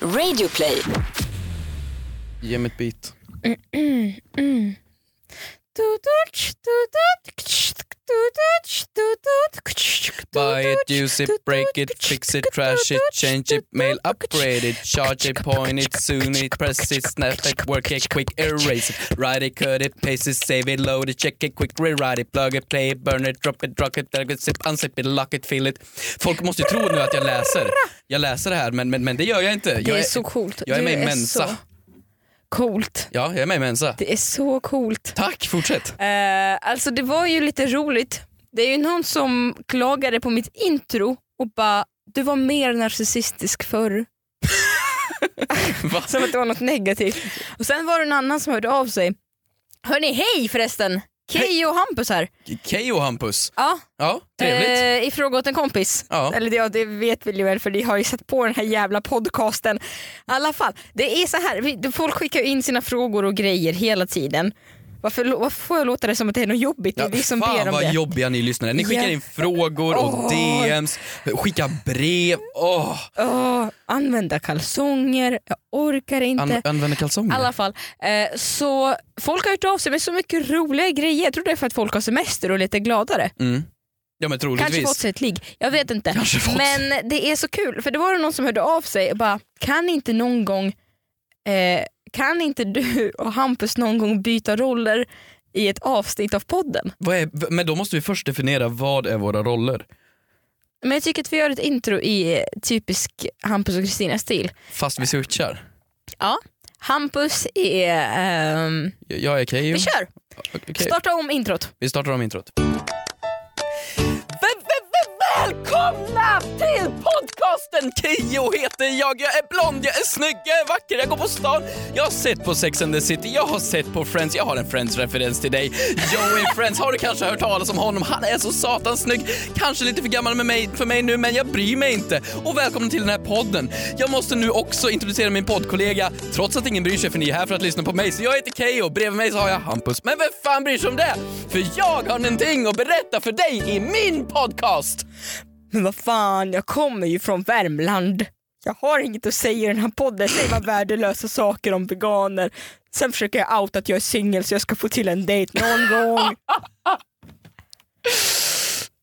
Radioplay. Ge mig ett bit. Buy it, use it, break it, fix it, trash it, change it, mail, upgrade it, charge it, point it, soon it, press it, snap it, work it, quick, erase it, write it, cut it, paste it, save it, load it, check it, quick, rewrite it, plug it, play it, burn it, drop it, drag it, drag it, zip, unzip it, lock it, fill it. Folk måste ju tro nu att jag läser. Jag läser det här men, men, men det gör jag inte. Jag Det är så coolt. Jag är Du med i Så Mensa. coolt. Ja, jag är med i Mensa. Det är så coolt. Tack, fortsätt. Eh, alltså det var ju lite roligt. Det är ju någon som klagade på mitt intro och bara du var mer narcissistisk förr. Va? Som att det var något negativt. Och sen var det en annan som hörde av sig. Hörni, hej förresten! Keyyo och Hampus här. Keyyo Hampus. Ja, Ja, trevligt. eh, I fråga åt en kompis. Ja. Eller ja, det vet vi ju väl för ni har ju sett på den här jävla podcasten. I alla fall, det är så här, vi- folk skickar ju in sina frågor och grejer hela tiden. Varför, lo- varför får jag låta det som att det är något jobbigt? Det är vi som fan ber om vad det. jobbiga ni lyssnare Ni skickar Ja. in frågor och Åh. DMs, skickar brev. Åh, Åh, använda kalsonger, jag orkar inte. an- använder I kalsonger. alla fall, eh, så folk har hört av sig med så mycket roliga grejer. Jag tror det är för att folk har semester och är lite gladare. Mm. Ja men Kanske troligtvis. fått sig ett ligg, jag vet inte. Kanske fått Men det är så kul, för det var det någon som hörde av sig och bara, kan inte någon gång, eh, kan inte du och Hampus någon gång byta roller i ett avsnitt av podden? Vad är, v- men då måste vi först definiera vad är våra roller? Men jag tycker att vi gör ett intro i eh, typisk Hampus och Kristina-stil. Fast vi switchar. Ja, Hampus är... ehm, Jag- Jag är Keyyo. vi kör! Okej, Starta om introt. Vi startar om introt. Välkomna till podcasten Keyyo heter jag, jag är blond, jag är snygg, jag är vacker, jag går på stan Jag har sett på Sex and the City, jag har sett på Friends, jag har en Friends-referens till dig Joey Friends, har du kanske hört talas om honom? Han är så satans snygg Kanske lite för gammal med mig, för mig nu, men jag bryr mig inte Och välkommen till den här podden Jag måste nu också introducera min poddkollega Trots att ingen bryr sig för ni är här för att lyssna på mig Så jag heter Keyyo, bredvid mig så har jag Hampus Men vem fan bryr sig om det? För jag har någonting att berätta för dig i min podcast! Men vad fan, jag kommer ju från Värmland. Jag har inget att säga i den här podden. Jag Säger man värdelösa saker om veganer. Sen försöker jag outa att jag är singel så jag ska få till en dejt någon gång.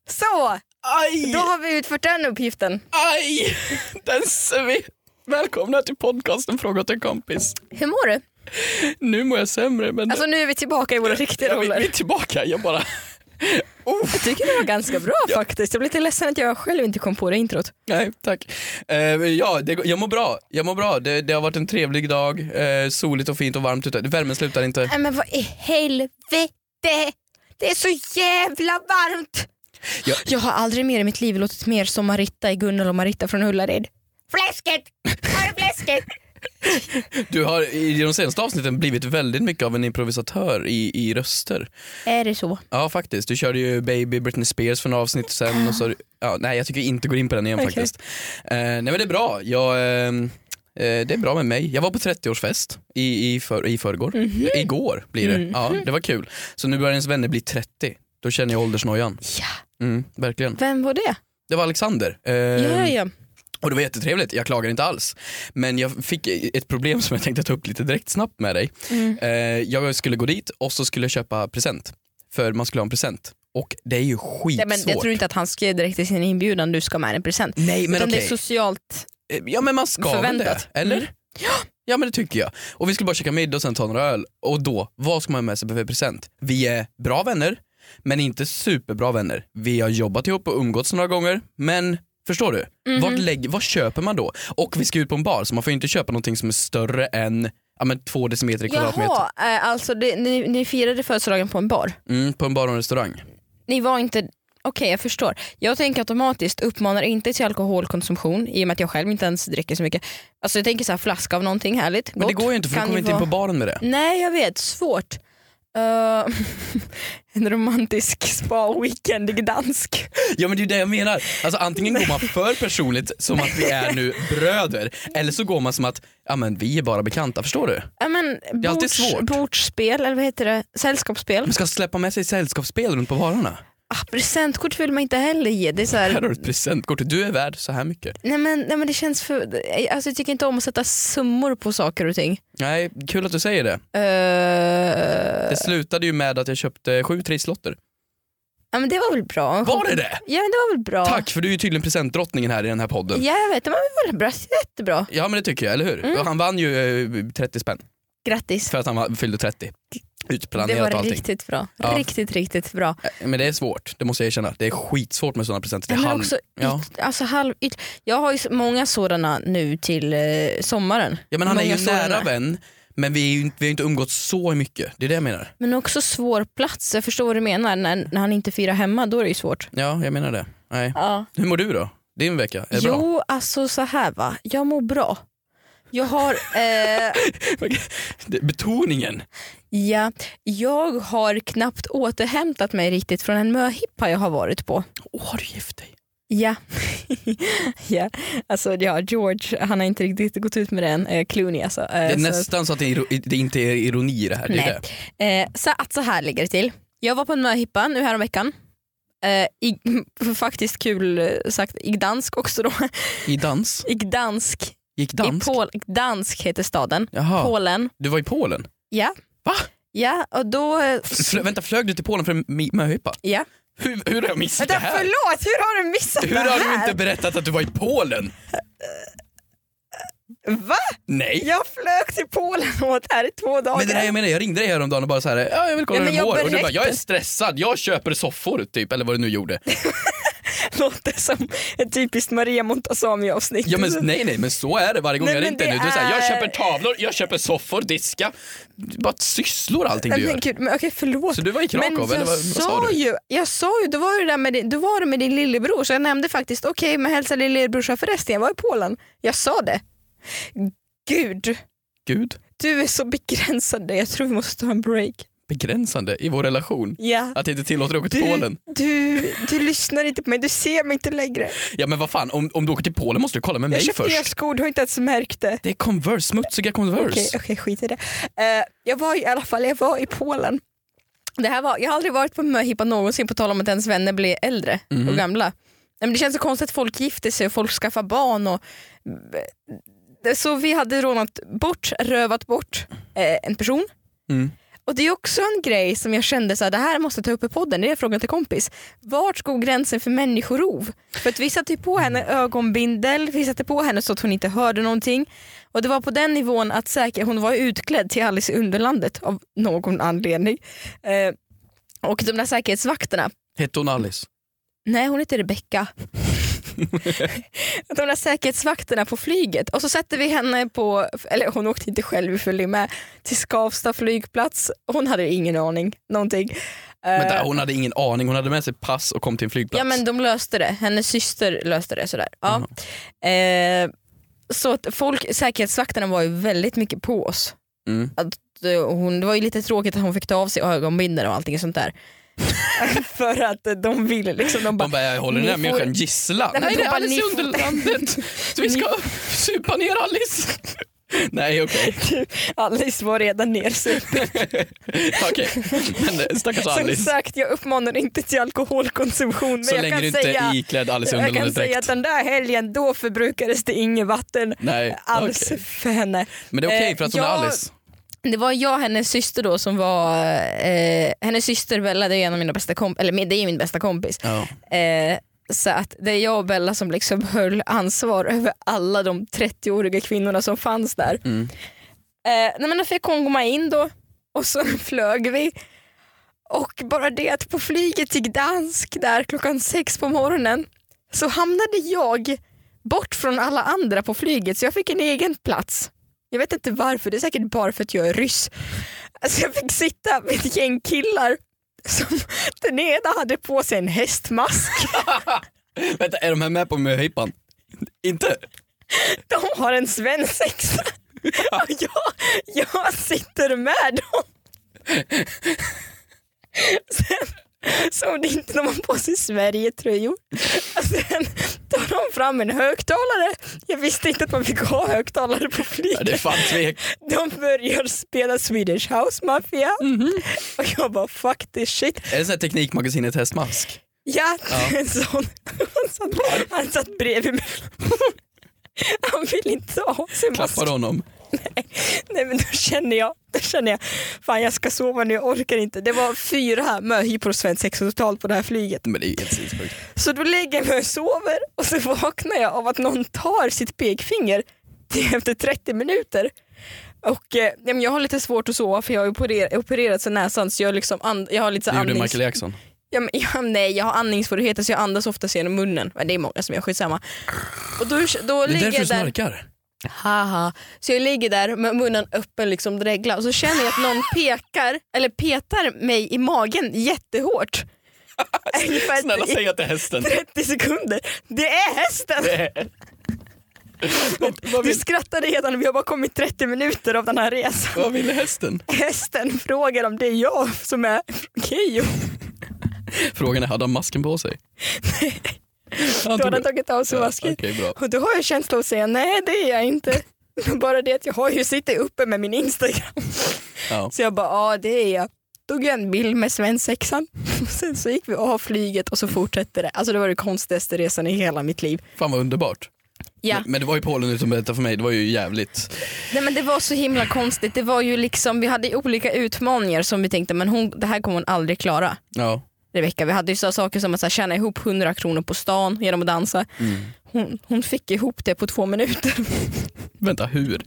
Så, Aj! då har vi utfört den uppgiften. Aj! Den sved. Välkomna till podcasten Fråga åt en kompis. Hur mår du? Nu mår jag sämre men Alltså nu är vi tillbaka i våra riktiga jag, vi, vi roller. är tillbaka. Jag bara... Oh, Jag tycker det var ganska bra faktiskt. Jag blir lite ledsen att jag själv inte kom på det introt. nej tack. Eh, ja, det, går- jag mår bra. Jag mår bra. Det, det har varit en trevlig dag. Eh, soligt och fint och varmt ute. Värmen slutar inte. Nej men vad i helvete! Det är så jävla varmt! Ja. Jag har aldrig mer i mitt liv låtit mer som Maritta i Gunnel och Maritta från Ullared. Fläsket! Har du fläsket? Du har i de senaste avsnitten blivit väldigt mycket av en improvisatör i, i röster. är det så? Ja faktiskt. Du körde ju Baby Britney Spears för några avsnitt sen och så, ja, nej jag tycker vi inte går in på den igen Okej. faktiskt. Eh, nej men det är bra. Jag, ehm, eh, det är bra med mig. Jag var på 30-årsfest i, i, för, i förrgår. Mhm. Igår blir det. Ja, det var kul. Så nu börjar ens vänner bli 30. Då känner jag åldersnojan. Ja. Mm, verkligen. Vem var det? Det var Alexander. Eh, ja, ja. och det var jättetrevligt, jag klagar inte alls. Men jag fick ett problem som jag tänkte ta upp lite direkt snabbt med dig. Mm. Eh, jag skulle gå dit och så skulle jag köpa present. För man skulle ha en present. Och det är ju Nej, skitsvårt. men jag tror inte att han skrev direkt i sin inbjudan du ska med en present. Nej men Utan okej. det är socialt. Eh, Ja men man ska väl det, Förväntat. eller? Mm. Ja men det tycker jag. Och vi skulle bara käka middag och sen ta några öl. Och då, vad ska man ha med sig för present? Vi är bra vänner, men inte superbra vänner. Vi har jobbat ihop och umgåtts några gånger, men förstår du? Mhm. Vart lägger, vad köper man då? Och vi ska ut på en bar så man får ju inte köpa någonting som är större än ja, men två decimeter i kvadratmeter. Jaha, eh, alltså det, ni, ni firade födelsedagen på en bar? Mm, på en bar och en restaurang. Ni var inte... Okej, jag förstår. Jag tänker automatiskt uppmanar inte till alkoholkonsumtion i och med att jag själv inte ens dricker så mycket. Alltså jag tänker så här flaska av någonting härligt, gott. Men det går ju inte för du Kan kommer ju inte in vara- på baren med det. Nej, jag vet. Svårt. Eh, en romantisk spa-weekend i Gdansk. Ja men det är ju det jag menar. Alltså antingen går man för personligt som att vi är nu bröder eller så går man som att ja, men vi är bara bekanta, förstår du? Ja, men, är alltid bords- svårt. Bordsspel, eller vad heter det? Sällskapsspel. Man ska släppa med sig sällskapsspel runt på varorna. ah, presentkort vill man inte heller ge. Det är så Här har här, du ett presentkort. Du är värd så här mycket. nej, men, nej men det känns för, alltså, jag tycker inte om att sätta summor på saker och ting. Nej, kul att du säger det. Eh, Det slutade ju med att jag köpte sju trisslotter. ja, men det var väl bra. Var det det? Ja men det var väl bra. Tack, för du är ju tydligen presentdrottningen här i den här podden. Ja jag vet, det var väl bra. jättebra. Ja men det tycker jag, eller hur? Mm. Och Han vann ju eh, 30 spänn Grattis. för att han var- fyllde 30. Det Utplanerat och var allting. riktigt bra. Ja. Riktigt, riktigt bra. Eh, Men det är svårt, det måste jag erkänna. Det är skitsvårt med sådana presenter. Det är Men halv... också, ja. yt- alltså, halv, yt- jag har ju så många sådana nu till eh, sommaren. ja men han är många ju sådana. nära vän, men vi, är ju inte, vi har ju inte umgått så mycket. Det är det jag menar. Men också svår plats, jag förstår vad du menar. När, när han inte firar hemma, då är det ju svårt. Ja, jag menar det. Nej. Ja. Hur mår du då? Din vecka? Är det bra? Jo, alltså så här va. Jag mår bra. Jag har, eh, Det- Betoningen! ja, jag har knappt återhämtat mig riktigt från en möhippa jag har varit på. Åh, har du gift dig? Ja. ja. Alltså, ja, George han har inte riktigt gått ut med den. Eh, Clooney alltså. Eh, Det är så- nästan så att det, är iro- det inte är ironi i det här. Det är Nej. det. Eh, så, att så här ligger det till. Jag var på en möhippa nu häromveckan. Eh, i, faktiskt kul eh, sagt, i Gdansk också då. I dans? I Gdansk, Gick dans? I Pol, Gdansk heter staden. Jaha, Polen. du var i Polen? Ja. Va? Ja, och då... eh, Flö, vänta, flög du till Polen för en mi- möhippa? Ja. Hur, hur har jag missat Vänta, det här? förlåt! Hur har du missat Hur det har du här? inte berättat att du var i Polen? Va? Nej. Jag flög till Polen och åt här i två dagar. Men det här jag menar, jag ringde dig häromdagen och bara så här, ja, jag vill kolla Ja, hur men du jag mår. Och du berättar- bara, jag är stressad, jag köper soffor typ, eller vad du nu gjorde. låter som ett typiskt Maria Montazami-avsnitt. Ja, men, nej nej men så är det varje gång Nej, jag men ringt dig det nu. Du är så här, jag är- köper tavlor, jag köper soffor, diska. Du Bara sysslor allting Nej, du men gör. gud, men okej förlåt. Så du var i Men Krakow eller jag vad, vad sa sa du? ju, jag sa ju, då var det där med din, då var det med din lillebror, så jag nämnde faktiskt, okej men hälsa din lillebrorsa förresten, jag var i Polen. Jag sa det. Gud, Gud, du är så begränsad, jag tror vi måste ta en break. begränsande i vår relation. Ja. Att jag inte tillåter dig åka till Du, Alltså, Polen. du, du lyssnar inte på mig, du ser mig inte längre. Ja men vad fan, om, om du åker till Polen måste du kolla med Jag mig köpte nya först. skor, du har inte ens märkt det. Det är Converse, smutsiga Converse. Okej, okej, skit i det. Eh, jag var i alla fall jag var i Polen. Det här var, jag har aldrig varit på möhippa någonsin på tal om att ens vänner blir äldre och gamla. Nej, Men det känns så konstigt att folk gifter sig och folk skaffar barn. Och, Det- så vi hade rånat bort, rövat bort eh, en person. Mm. Och Det är också en grej som jag kände så här, det här måste jag ta upp i podden, det är frågan till kompis. Vart går gränsen för människorov? För att vi satte ju på henne ögonbindel, vi satte på henne så att hon inte hörde någonting. Och det var på den nivån att säkert, hon var ju utklädd till Alice i Underlandet av någon anledning. Eh, och de där säkerhetsvakterna, Hette hon Alice? nej hon heter Rebecka. de där säkerhetsvakterna på flyget och så sätter vi henne på, eller hon åkte inte själv, vi följde med till Skavsta flygplats. Hon hade ingen aning, någonting. Eh, Vänta, hon hade ingen aning, hon hade med sig pass och kom till en flygplats. Ja men de löste det, hennes syster löste det sådär. Ja. Eh, så att folk, säkerhetsvakterna var ju väldigt mycket på oss. Mm. Att, eh, hon, det var ju lite tråkigt att hon fick ta av sig ögonbindel och allting sånt där. För att eh, de ville liksom, de bara, De bara, jag håller den Ni här får- människan gisslan. Nej, men Nej, det de är bara, Alice i ni får- Underlandet. Så vi ska supa ner Alice. Nej, okej. Alice var redan nersupen. Okej. Men eh, stackars Som Alice. sagt, jag uppmanar inte till alkoholkonsumtion men Så jag länge kan du inte säga är iklädd Alice i jag kan Underlandet säga direkt. att den där helgen då förbrukades det inget vatten Nej, alls okej. för henne. Men det är okej Eh, för att hon är jag- Alice. Det var jag och hennes syster då som var, eh, hennes syster Bella det är en av mina bästa komp- eller min- det är min bästa kompis. Ja. Eh, så att det är jag och Bella som liksom höll ansvar över alla de 30-åriga kvinnorna som fanns där. Mm. Eh, nej men då fick hon komma in då och så flög vi. Och bara det att på flyget till Gdansk där klockan sex på morgonen så hamnade jag bort från alla andra på flyget så jag fick en egen plats. Jag vet inte varför, det är säkert bara för att jag är ryss. Alltså jag fick sitta med ett gäng killar som den ena hade på sig en hästmask. Vänta, är de här med på möhippan? Inte? De har en svensexa och jag, jag sitter med dem. Sen, så om det inte de har på sig Sverige-tröjor. Sen tar de fram en högtalare. Jag visste inte att man fick ha högtalare på flyg. Ja, det är fan tvek. De börjar spela Mhm. Swedish House Mafia. Och jag bara fuck this shit. Är det sån här Teknikmagasinet Hästmask? Ja, Ja. en sån. Han satt, han satt bredvid mig. Han vill inte ha av sig Klappar masken. honom. Nej men då känner jag, då känner jag, fan jag ska sova nu, jag orkar inte. Det var fyra möhipor på svensk sexa totalt på det här flyget. Men det är ju helt sinnessjukt. Så då lägger jag mig och sover och så vaknar jag av att någon tar sitt pekfinger till- efter 30 minuter. Och eh, ja, men jag har lite svårt att sova för jag har opererat, opererats i näsan så jag, liksom and, jag har lite så Det här gjorde andnings... Michael Jackson. Ja, men, ja, nej, jag har andningssvårigheter så jag andas oftast genom munnen. Men det är många som gör, skitsamma. Och då, då Det är därför ligger du jag där, snarkar. haha. Så jag ligger där med munnen öppen liksom dreglar och så känner jag att någon pekar, eller petar mig i magen jättehårt. Ungefär Snälla i säg att det är hästen. 30 sekunder. Det är hästen! Vad- vad Du vill- skrattade redan, vi har bara kommit 30 minuter av den här resan. Vad ville hästen? Hästen frågar om det är jag som är Keyyo. Frågan är, hade han masken på sig? Han Då har tog- han tagit av sig Ja, masken. Okej, bra. Och då har jag känslan att säga nej det är jag inte. Men Bara det att jag har ju sitter uppe med min Instagram. Ja. Så jag bara ja det är jag. Tog jag en bild med svensexan. Och Sen så gick vi av flyget och så fortsatte det. Alltså det var det konstigaste resan i hela mitt liv. Fan vad underbart. Ja. Men, men det var ju Polen utan berätta för mig, det var ju jävligt. Nej men det var så himla konstigt. Det var ju liksom, vi hade ju olika utmaningar som vi tänkte men hon, det här kommer hon aldrig klara. Ja. Rebecka, vi hade ju så saker som att så här, tjäna ihop 100 kronor på stan genom att dansa. Hon, hon fick ihop det på två minuter. Vänta, hur?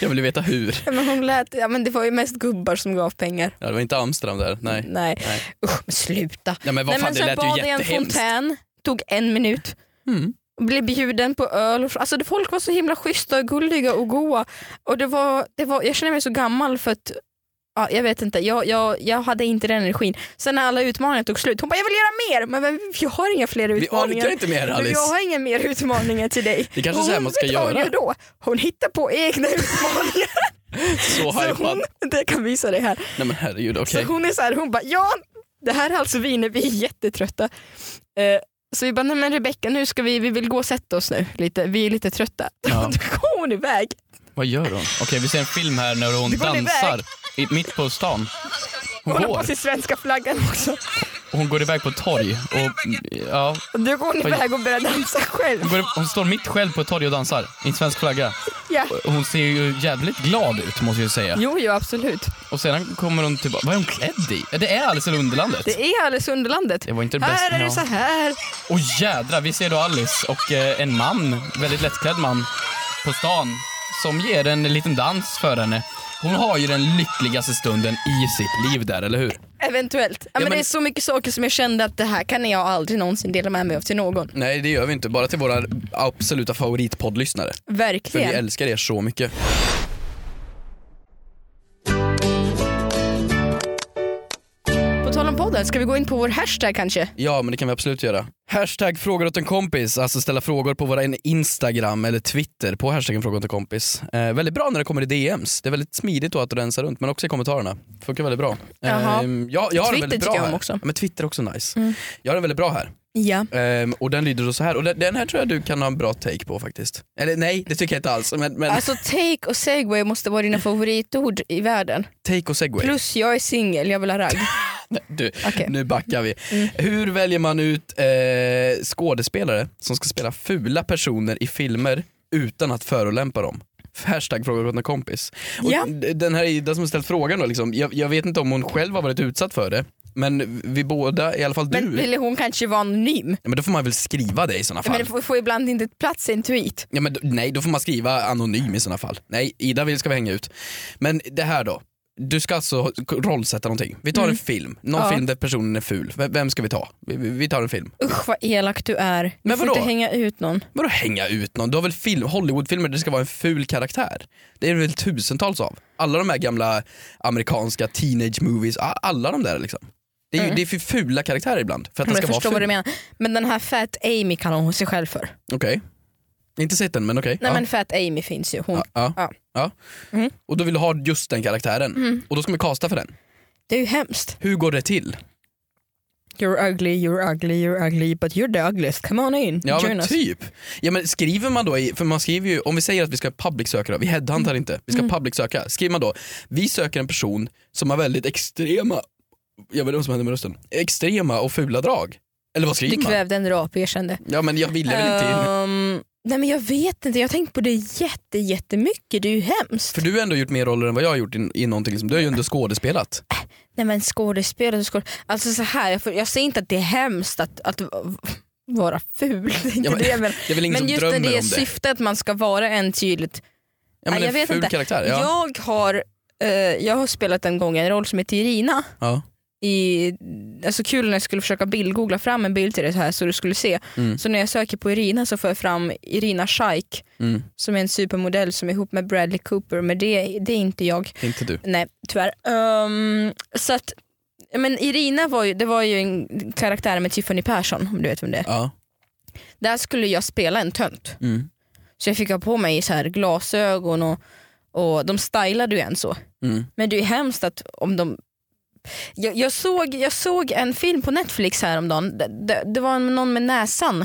Jag vill ju veta hur. men hon lät, ja, men det var ju mest gubbar som gav pengar. Ja, det var inte Amsterdam där, nej. Nej, Nej. usch men sluta. Ja, men vad Nej, fan, men det sen lät ju bad jag en jättehemskt. fontän, tog en minut. Mm. Blev bjuden på öl. och- Alltså det, folk var så himla schyssta och gulliga och goa. Och det var, det var, jag känner mig så gammal för att Ja, jag vet inte, jag, jag, jag hade inte den energin. Sen när alla utmaningar tog slut, hon bara jag vill göra mer! Men vem- jag har inga fler Vi utmaningar. orkar inte mer Du, Alice. jag har inga mer utmaningar till dig. Det är kanske så här Hon- man ska vet du vad göra. Hon, gör då? hon hittar på egna utmaningar. Så så hypad. hon, det kan visa dig här. Nej men herregud, okej. Så hon är så här, hon bara ja, det här är alltså vi när vi är jättetrötta. Eh, så vi bara, nej men Rebecka nu ska vi, vi vill gå och sätta oss nu lite, vi är lite trötta. Ja. Då går hon iväg. Vad gör hon? Okej, vi ser en film här när hon går iväg. dansar i, mitt på stan. Hon Hon har går. på sig svenska flaggan också. Hon går iväg på ett torg. Och, ja, Och då går hon Oj. iväg och börjar dansa själv. hon, går, hon står mitt själv på ett torg och dansar i en svensk flagga. Ja. Hon ser ju jävligt glad ut måste jag ju säga. Jo, jo absolut. Och sedan kommer hon tillbaka. Vad är hon klädd i? Ja, Det är Alice i Underlandet. Det är Alice i Underlandet. Det var inte det här bästa. är det ja. så här. Och jädra, vi ser då Alice och eh, en man, väldigt lättklädd man, på stan som ger en liten dans för henne. Hon har ju den lyckligaste stunden i sitt liv där, eller hur? Eventuellt. Ja, men men- Det är så mycket saker som jag kände att det här kan jag aldrig någonsin dela med mig av till någon. Nej, det gör vi inte. Bara till våra absoluta favoritpoddlyssnare. För vi Verkligen. älskar er så mycket. På tal om podden, ska vi gå in på vår hashtag kanske? Ja, men det kan vi absolut göra. Hashtag frågor åt en kompis, alltså ställa frågor på våra Instagram eller Twitter på hashtaggen frågor åt en kompis. Eh, väldigt bra när det kommer i DMs. Det är väldigt smidigt då att rensa runt, men också i kommentarerna. Funkar väldigt bra. Jaha. jag, jag har en Twitter väldigt bra tycker jag om här. också. Mm. Ja, men Twitter är också nice. Jag har en väldigt bra här. Ja. Ehm, och den lyder då så här, och den, den här tror jag du kan ha en bra take på faktiskt. Eller nej, det tycker jag inte alls. Men, men Alltså take och segway måste vara dina favoritord i världen. take och segway. Plus jag är singel, jag vill ha ragg. Du, Okej. Mm. nu backar vi. Hur väljer man ut eh, skådespelare som ska spela fula personer i filmer utan att förolämpa dem? Hashtag frågar åt en kompis. Och Ja. d- Den här Ida som har ställt frågan då, liksom, jag, jag vet inte om hon själv har varit utsatt för det, men vi båda, i alla fall Men du, ville hon kanske vara anonym? ja, men då får man väl skriva det i sådana Men fall. det får, får ibland inte plats i en tweet. Ja, men, d- nej, då får man skriva anonym i sådana fall. Nej, Ida vill ska vi hänga ut. Men det här då. Du ska alltså rollsätta någonting. Vi tar en film, någon Mm. Ja. film där personen är ful. V- Vem ska vi ta? Vi, vi vi tar en film. Usch vad elak du är. Du Men får vadå? inte hänga ut någon. Vadå hänga ut någon? Du har väl film, Hollywoodfilmer där det ska vara en ful karaktär? Det är det väl tusentals av? Alla de här gamla amerikanska teenage movies, a- alla de där liksom. Det är, ju, det är för fula karaktärer ibland för att Mm. Men den jag ska vara förstår ful. vad du menar. Men den här Fat Amy kallar hon sig själv för. Okej. Inte sett den men okej. Nej Ja. men Fat Amy finns ju. Hon, Ja. Ja. Mm. Ja. Och då vill du ha just den karaktären och då ska man kasta för den. Det är ju hemskt. Hur går det till? You're ugly, you're ugly, you're ugly but you're the ugliest. Come on in, Ja join men us. typ. Ja, men skriver man då, i, för man skriver ju, om vi säger att vi ska public söka då, vi headhuntar inte, vi ska Mm. public söka. Skriver man då, vi söker en person som har väldigt extrema, jag vet inte vad som händer med rösten, extrema och fula drag. Eller vad Du skriver man? kvävde en rap och erkände. Ja men jag ville väl inte in. Ehm, nej men jag vet inte, jag har tänkt på det jätte, jättemycket, det är ju hemskt. För du har ändå gjort mer roller än vad jag har gjort i, i någonting. Liksom. Du har ju ändå skådespelat. Nej men skådespel och skådespel. Alltså så här, jag, får, jag säger inte att det är hemskt att, att v- vara ful. Det är inte Ja, men- det, men, Det är väl ingen men som just drömmer när det är om det? syftet att man ska vara en tydligt. Ja, men jag en vet ful inte. karaktär. Ja. Jag, har, eh, jag har spelat en gång en roll som heter Irina. Ja. i, alltså kul när jag skulle försöka bildgoogla fram en bild till dig så här så du skulle se. Mm. Så när jag söker på Irina så får jag fram Irina Shayk Mm. som är en supermodell som är ihop med Bradley Cooper men det, det är inte jag. Inte du. Nej tyvärr. Ehm, så att, men Irina var ju, det var ju en karaktär med Tiffany Persson om du vet vem det är. Ja. Där skulle jag spela en tönt. Mm. Så jag fick ha på mig så här glasögon och, och de stylade ju en så. Mm. Men det är ju hemskt att om de... Jag, jag, såg, jag såg en film på Netflix häromdagen. Det, det, det var någon med näsan.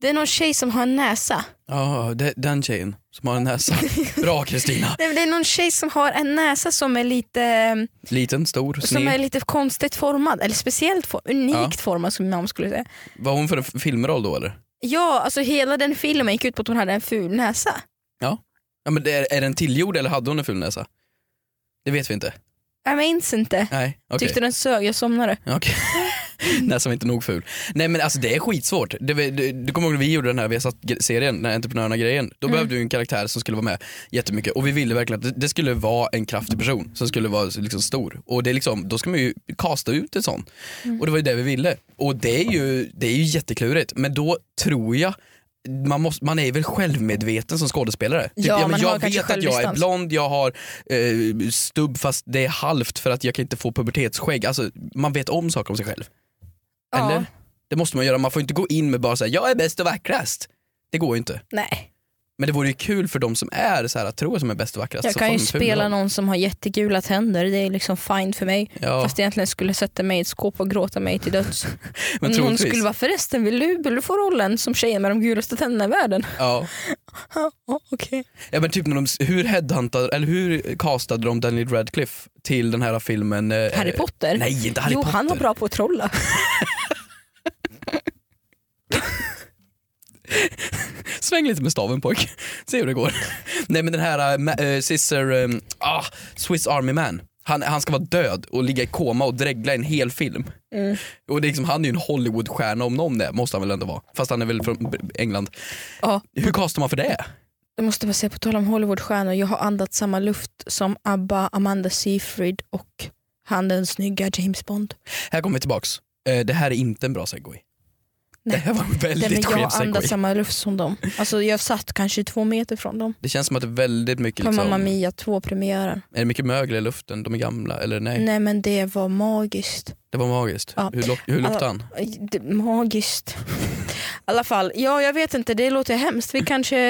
Det är någon tjej som har en näsa. Ja, det- den tjejen som har en näsa. Bra Kristina. Nej, men Det är någon tjej som har en näsa som är lite, Liten, stor, som är sned. lite konstigt formad. Eller speciellt for, unikt Ja. formad som min mamma skulle säga. Var hon för en f- filmroll då eller? Ja, alltså hela den filmen gick ut på att hon hade en ful näsa. Ja, men det är, är den tillgjord eller hade hon en ful näsa? Det vet vi inte. Jag minns inte. Nej, okej. Tyckte den sög, jag somnade. Okej. Näsan var inte nog ful. Nej men alltså det är skitsvårt. Det, var- du, du kommer ihåg när vi gjorde den här vi har satt gre- serien, den här entreprenörerna-grejen. Då Mm. behövde vi en karaktär som skulle vara med jättemycket och vi ville verkligen att det, det skulle vara en kraftig person som skulle vara liksom stor. Och det är liksom, då ska man ju kasta ut en sån. Mm. Och det var ju det vi ville. Och det är ju, det är ju jätteklurigt men då tror jag man, måste, man är väl självmedveten som skådespelare. Typ, Ja, men man har jag kanske vet att jag är självdistans. blond, jag har eh, stubb fast det är halvt för att jag kan inte få pubertetsskägg. Alltså, man vet om saker om sig själv. Ja. Eller? Det måste man göra, man får inte gå in med bara såhär, jag är bäst och vackrast. Det går ju inte. Nej. Men Men det vore ju kul för de som är så här, att tro att de är bäst och vackrast. jag så kan får de en ju Alltså, ful spela roll. någon som har jättegula tänder, det är liksom fine för mig. Ja, Fast egentligen skulle sätta mig i ett skåp och gråta mig till döds. men Om någon troligtvis. skulle vara förresten, vill du, vill du få rollen som tjejen med de gulaste tänderna i världen? ja. Ja, ja, okej. ja men typ när de, hur headhuntade, eller hur castade de Daniel Radcliffe till den här filmen? eh, Harry Potter? Nej inte Harry jo, Potter. han var bra på att trolla. Sväng lite med staven pojk, se hur det går. Nej men den här eh, ma- eh, Caesar, eh, ah, Swiss Army Man. Han, han ska vara död och ligga i koma och dregla en hel film. Mm. Och det är liksom, han är ju en Hollywoodstjärna om någon det, måste han väl ändå vara. Fast han är väl från B- England. Ja, Hur castar man för det? jag måste bara säga, på tal om Hollywoodstjärnor, jag har andats samma luft som ABBA, Amanda Seyfried och han den snygga James Bond. Här kommer vi tillbaks. Eh, Det här är inte en bra segway. Nej. Det här var en Nej, väldigt men jag skev har segway. andats samma luft som dem. Alltså, jag satt kanske två meter från dem. Det känns som att det är väldigt mycket På Mamma liksom, Mia 2-premiären. är det mycket mögel i luften? De är gamla, eller nej? Nej men det var magiskt. Det var magiskt. Ja. Alltså- Hur, luk- hur luktar han? Det- Magiskt. I alla fall, ja jag vet inte, det låter hemskt. Vi kanske,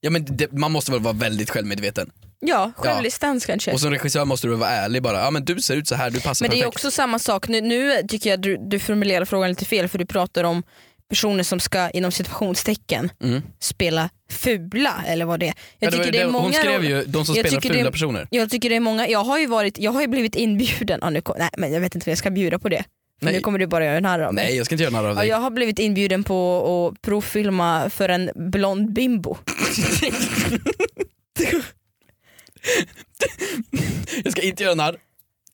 Ja, men det, man måste väl vara väldigt självmedveten. ja självdistans kanske. Och som regissör måste du vara ärlig bara, ja men du ser ut så här, du passar Men det perfekt. är också samma sak, nu, nu tycker jag du, du formulerar frågan lite fel för du pratar om personer som ska inom situationstecken Mm. spela fula eller vad det är. Ja, Jag var tycker ju det är det- hon många skrev roll- ju de som jag spelar tycker det är- fula personer. jag tycker det är många, jag har ju varit, jag har ju blivit inbjuden, ja, nu, kom- nej men jag vet inte vad jag ska bjuda på det. För Nej. nu kommer du bara göra en här av mig. Nej jag ska inte göra narr av Ja, dig. jag har blivit inbjuden på att provfilma för en blond bimbo. Jag ska inte göra narr.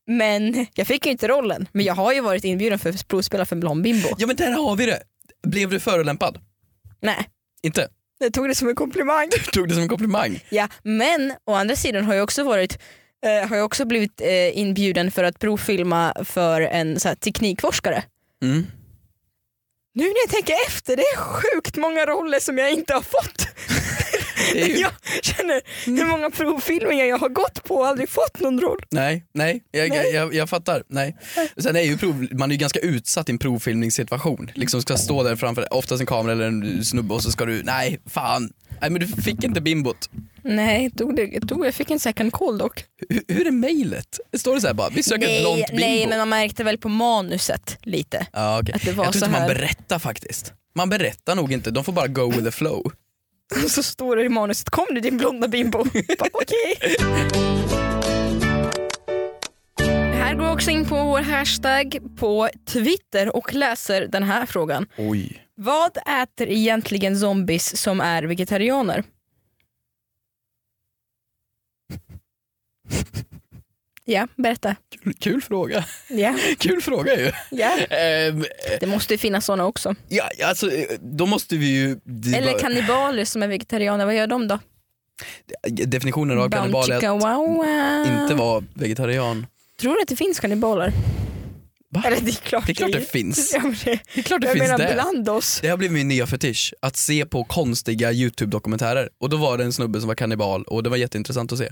Men jag fick ju inte rollen. Men jag har ju varit inbjuden för att provspela för en blond bimbo. Ja men där har vi det. Blev du förolämpad? Nej, Inte? jag tog det som en komplimang. Du tog det som en komplimang. Ja, men å andra sidan har jag också varit eh, har jag också blivit eh, inbjuden för att provfilma för en så här, teknikforskare. Mm. Nu när jag tänker efter, det är sjukt många roller som jag inte har fått. Det är ju- Jag känner hur många provfilmningar jag har gått på och aldrig fått någon roll. Nej, nej, jag, Nej. Jag, jag fattar. Nej. Sen är ju prov, man är ju ganska utsatt i en provfilmningssituation. Liksom ska stå där framför, oftast en kamera eller en snubbe och så ska du, nej fan, nej men du fick inte bimbot. Nej, tog det, tog, jag fick en second call dock. Hur, hur är mejlet? Står det så här bara, vi söker ett blont Nej, bimbo? nej, men man märkte väl på manuset lite. ja, okej. att det var jag tror så inte man här. berättar faktiskt. Man berättar nog inte, de får bara go with the flow. Så står det i manuset, kom nu din blonda bimbo. Bara, Okej. Det här går går också in på vår hashtag på Twitter och läser den här frågan. Oj. Vad äter egentligen zombies som är vegetarianer? Ja, berätta. Kul, kul fråga. Ja, Kul fråga ju. ja. Ehm, Det måste ju finnas såna också. ja, alltså, eh, då måste vi ju... det Eller var- kannibaler som är vegetarianer, vad gör de då? Definitionen av kannibal är Bounchicka att wow, wow. inte vara vegetarian. Tror du att det finns kannibaler? Va? Eller det är klart Det är klart det gör. finns. Ja, men det- Det är klart det Jag finns menar det. bland oss. Det har blivit min nya fetisch, att se på konstiga YouTube-dokumentärer. Och då var det en snubbe som var kannibal och det var jätteintressant att se.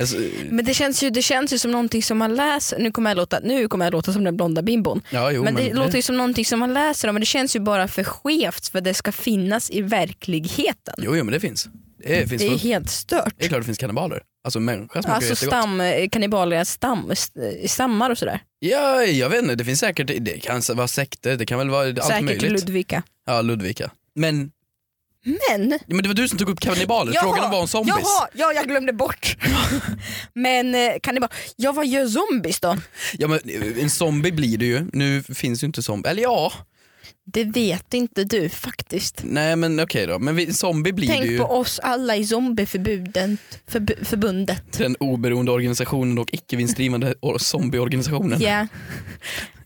Alltså, Men det känns, ju, det känns ju som någonting som man läser, nu kommer jag låta, nu kommer jag låta som den blonda bimbon. ja, jo, men det låter ju som någonting som man läser om men det känns ju bara för skevt för det ska finnas i verkligheten. Jo, jo, men det finns. Det, finns Det är ju fullt. helt stört. det är klart det finns kannibaler. Alltså människa smakar Alltså jättegott. stam, kannibaler, stam, st- stammar och sådär. Ja, jag vet inte, det finns säkert, det kan vara sekter, det kan väl vara allt Säkert möjligt. Ludvika. ja, Ludvika. Men, Men ja, men det var du som tog upp kannibaler, Alltså, frågan var om zombies. Jaha, ja, jag glömde bort. men eh, kannibal, ja vad gör zombies då? Ja, men, eh, en zombie blir det ju, nu finns ju inte zombie. Eller ja, Det vet inte du faktiskt. nej men okej då. Men vi, zombie blir det Tänk ju. på oss alla i zombieförbundet. Förb- förbundet. den oberoende organisationen och icke vinstdrivande or- zombieorganisationen. Ja.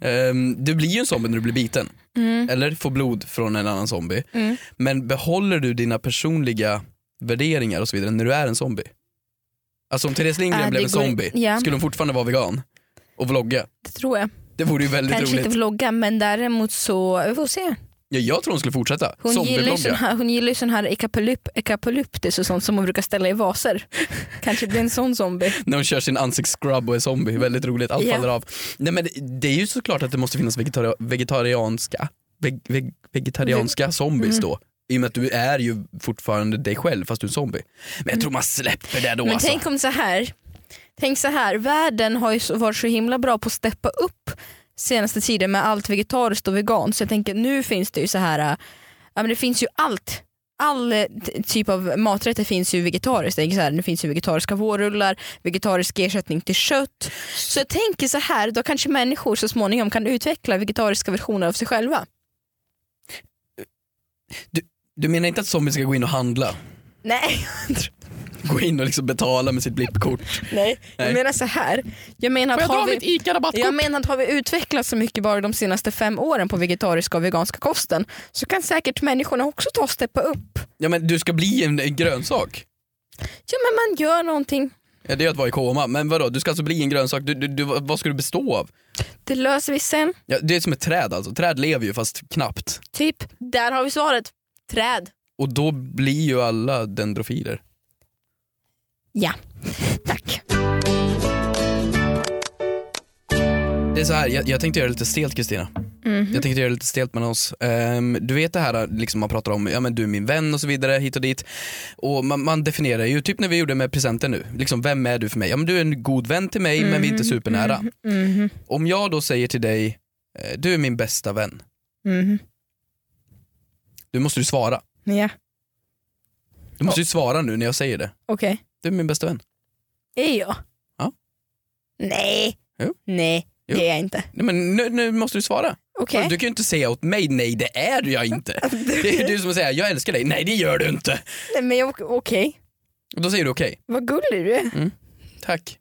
Ehm, du blir ju en zombie när du blir biten eller får blod från en annan zombie. Mm. Men behåller du dina personliga värderingar och så vidare när du är en zombie? Alltså om Therese Lindgren Äh, det blev en går- zombie, ja. skulle hon fortfarande vara vegan och vlogga? Det tror jag. Det vore ju väldigt Kanske roligt. inte vlogga men däremot så, vi får se. Ja, jag tror hon skulle fortsätta Hon gillar, ju sån zombie-vlogga. här, hon gillar ju sån här ekapolyp, ekapolyptus och sånt som hon brukar ställa i vaser. Kanske blir en sån zombie. När hon kör sin ansiktsscrub och är zombie, väldigt roligt, allt Ja. faller av. Nej men det- det är ju såklart att det måste finnas vegetari- vegetarianska, veg- veg- vegetarianska zombies Mhm. då. I och med att du är ju fortfarande dig själv fast du är en zombie. Men jag tror man släpper det då Men alltså. tänk om så här. Tänk så här, världen har ju så- varit så himla bra på att steppa upp senaste tiden med allt vegetariskt och veganskt. Så jag tänker nu finns det ju så här, äh, ja men det finns ju allt. All eh, t- typ av maträtter finns ju vegetariskt. Det, är så här, det finns ju vegetariska vårrullar, vegetarisk ersättning till kött. Så jag tänker så här, då kanske människor så småningom kan utveckla vegetariska versioner av sig själva. Du menar inte att zombies ska gå in och handla? Nej, Gå in och liksom betala med sitt blippkort? nej. Nej. jag menar så här. Jag menar att har vi... ICA-rabattkort? Jag menar att har vi utvecklat så mycket bara de senaste fem åren på vegetariska och veganska kosten så kan säkert människorna också ta och steppa upp. Ja men du ska bli en, en grönsak. Ja men man gör någonting. Ja, det är att vara i koma, men vadå du ska alltså bli en grönsak, du, du, du, vad ska du bestå av? Det löser vi sen. Ja, det är som ett träd alltså, träd lever ju fast knappt. Typ, där har vi svaret. Träd. Och då blir ju alla dendrofiler. Ja, tack. Det är så här, jag, jag tänkte göra det lite stelt Kristina. Jag tänkte göra det lite stelt mellan oss. Ehm, du vet det här liksom man pratar om, ja men du är min vän och så vidare hit och dit. Och man, man definierar ju, typ när vi gjorde med presenten nu, liksom vem är du för mig? Ja men du är en god vän till mig men vi är Mm-hmm. inte Mm, supernära. Mhm, Om jag då säger till dig, eh, du är min bästa vän, mhm. då måste du svara. Ja, Du måste ju svara nu när jag säger det. okej. Du är min bästa vän. Är jag? Ja. Nej. Jo. Nej, Jo. det är jag inte. Nej men nu, nu måste du svara. Okej. Du kan ju inte säga åt mig, nej det är jag inte. Det är du som säger, jag älskar dig, nej det gör du inte. Nej, men jag- Okej, Och då säger du okej, vad gullig du är. tack.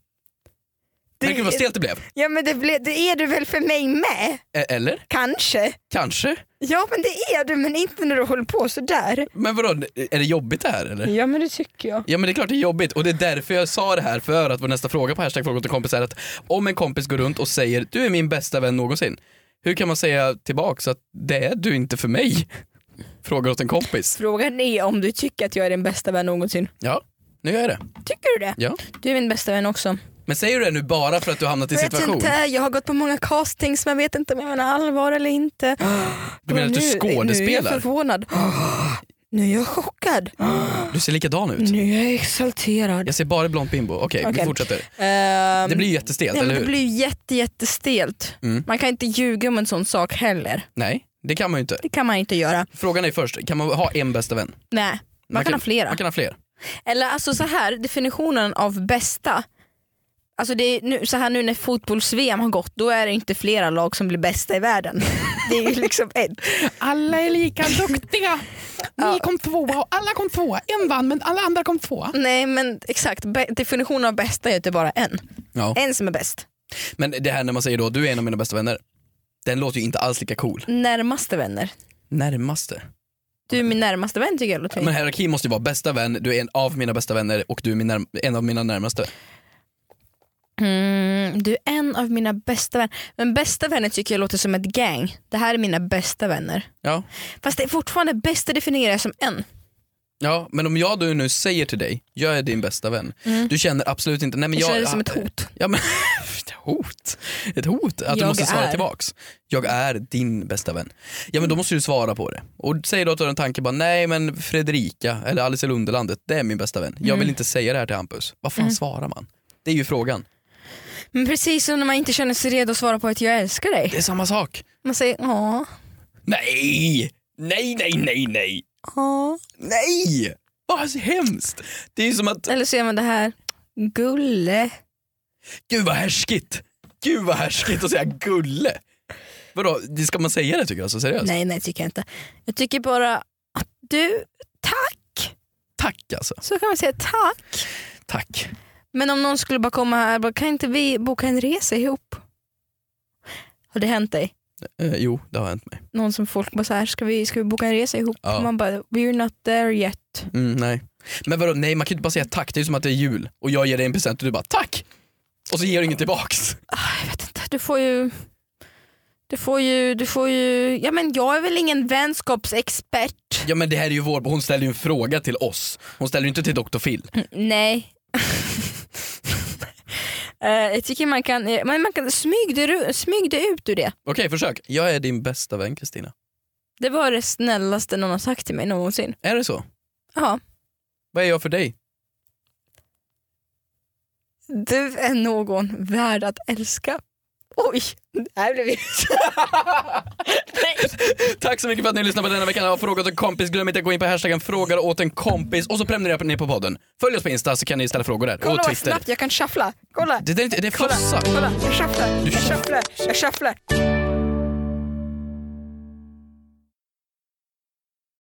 Det- Men gud vad stelt det blev. Ja men det, ble, det är du väl för mig med? E- Eller? Kanske. Kanske? Ja men det är du men inte när du håller på sådär. Men vadå, är det jobbigt det här eller? Ja men det tycker jag. Ja men det är klart det är jobbigt och det är därför jag sa det här för att vår nästa fråga på hashtag fråga till kompis är att om en kompis går runt och säger du är min bästa vän någonsin. Hur kan man säga tillbaks att det är du inte för mig? Frågar åt en kompis. Frågan är om du tycker att jag är din bästa vän någonsin. Ja, nu gör jag det. Tycker du det? Ja. Du är min bästa vän också. Men säger du det nu bara för att du har hamnat i Jag vet situation? inte, jag har gått på många castings men jag vet inte om jag menar allvar eller inte. Du menar att du nu, Nu är jag skådespelar? förvånad. Nu är jag chockad. Du ser likadan ut. Nu är jag exalterad. Jag ser bara blont bimbo. Okej, vi Okej. fortsätter. Ehm, Det blir ju jättestelt, ja, men eller det hur? blir ju jätte, jättestelt. Mm. Man kan inte ljuga om en sån sak heller. Nej, det kan man ju inte. Det kan man inte göra. Frågan är först, kan man ha en bästa vän? Man, Nej, man, kan, ha flera. Man kan ha fler. Eller alltså så här, definitionen av bästa Alltså det är nu, så här nu när fotbolls-VM har gått, då är det inte flera lag som blir bästa i världen. Det är ju liksom ett. Alla är lika duktiga. Ni kom tvåa och alla kom tvåa. En vann men alla andra kom tvåa. Nej men exakt, Bä- definitionen av bästa är ju inte bara en. Ja. En som är bäst. Men det här när man säger då, du är en av mina bästa vänner. Den låter ju inte alls lika cool. Närmaste vänner. Närmaste. Du är min närmaste vän tycker jag låter Men hierarkin måste ju vara bästa vän, du är en av mina bästa vänner och du är min närm- en av mina närmaste. Mm, du är en av mina bästa vänner. Men bästa vänner tycker jag låter som ett gang. Det här är mina bästa vänner. Ja. Fast det är fortfarande bästa definierar jag som en. ja, men om jag då nu säger till dig, jag är din bästa vän. Du känner absolut inte, nej men Jag jag... Mm. känner det som ett hot. Ja, men, ett hot? Ett hot? Att du Jag måste svara är. tillbaks. Jag är din bästa vän. Ja men då måste du svara på det. Och säg då att du har en tanke bara, nej men Fredrika eller Alice i Lunderlandet, det är min bästa vän. Jag Mm. vill inte säga det här till Hampus. Vad fan svarar man? Det är ju frågan. Men precis som när man inte känner sig redo att svara på att jag älskar dig. Det är samma sak. Man säger ja, Nej! Nej, nej, nej, nej! ja. Nej! Vad hemskt! Det är ju som att, Eller så gör man det här, gulle. gud vad härskigt! Gud vad härskigt att säga gulle! Vadå, det ska man säga det tycker du? Alltså, seriöst? Nej nej tycker jag inte. Jag tycker bara att du, tack. Tack alltså. Så kan man säga tack. Tack. Men om någon skulle bara komma här, bara, kan inte vi boka en resa ihop? Har det hänt dig? Eh, jo, det har hänt mig. någon som folk bara så här, ska vi, ska vi boka en resa ihop? Ja. Man bara, we're not there yet. Mm, nej. Men vadå, nej man kan ju inte bara säga tack, det är ju som att det är jul och jag ger dig en present och du bara tack! Och så ger du inget tillbaks. Jag vet inte, du får ju... Du får ju, du får ju, ja men jag är väl ingen vänskapsexpert. Ja men det här är ju vår, hon ställer ju en fråga till oss. Hon ställer ju inte till Dr. Phil. Nej. Eh, jag tycker man kan, eh, men man kan smyg dig ru- smyg dig ut ur det. Okej, försök. Jag är din bästa vän Kristina. Det var det snällaste någon har sagt till mig någonsin. Är det så? Ja, Vad är jag för dig? du är någon värd att älska. Oj, det här blev ju... Nej. Tack så mycket för att ni lyssnade på denna veckan av Fråga åt en kompis. Glöm inte att gå in på hashtaggen frågar åt en kompis och så prenumerera ni på podden. Följ oss på Insta så kan ni ställa frågor där. Kolla och vad Twitter. snabbt jag kan shuffla. Kolla. Det, där är inte- det är Kolla, flossa. kolla, jag shufflar, jag shufflar, jag shufflar.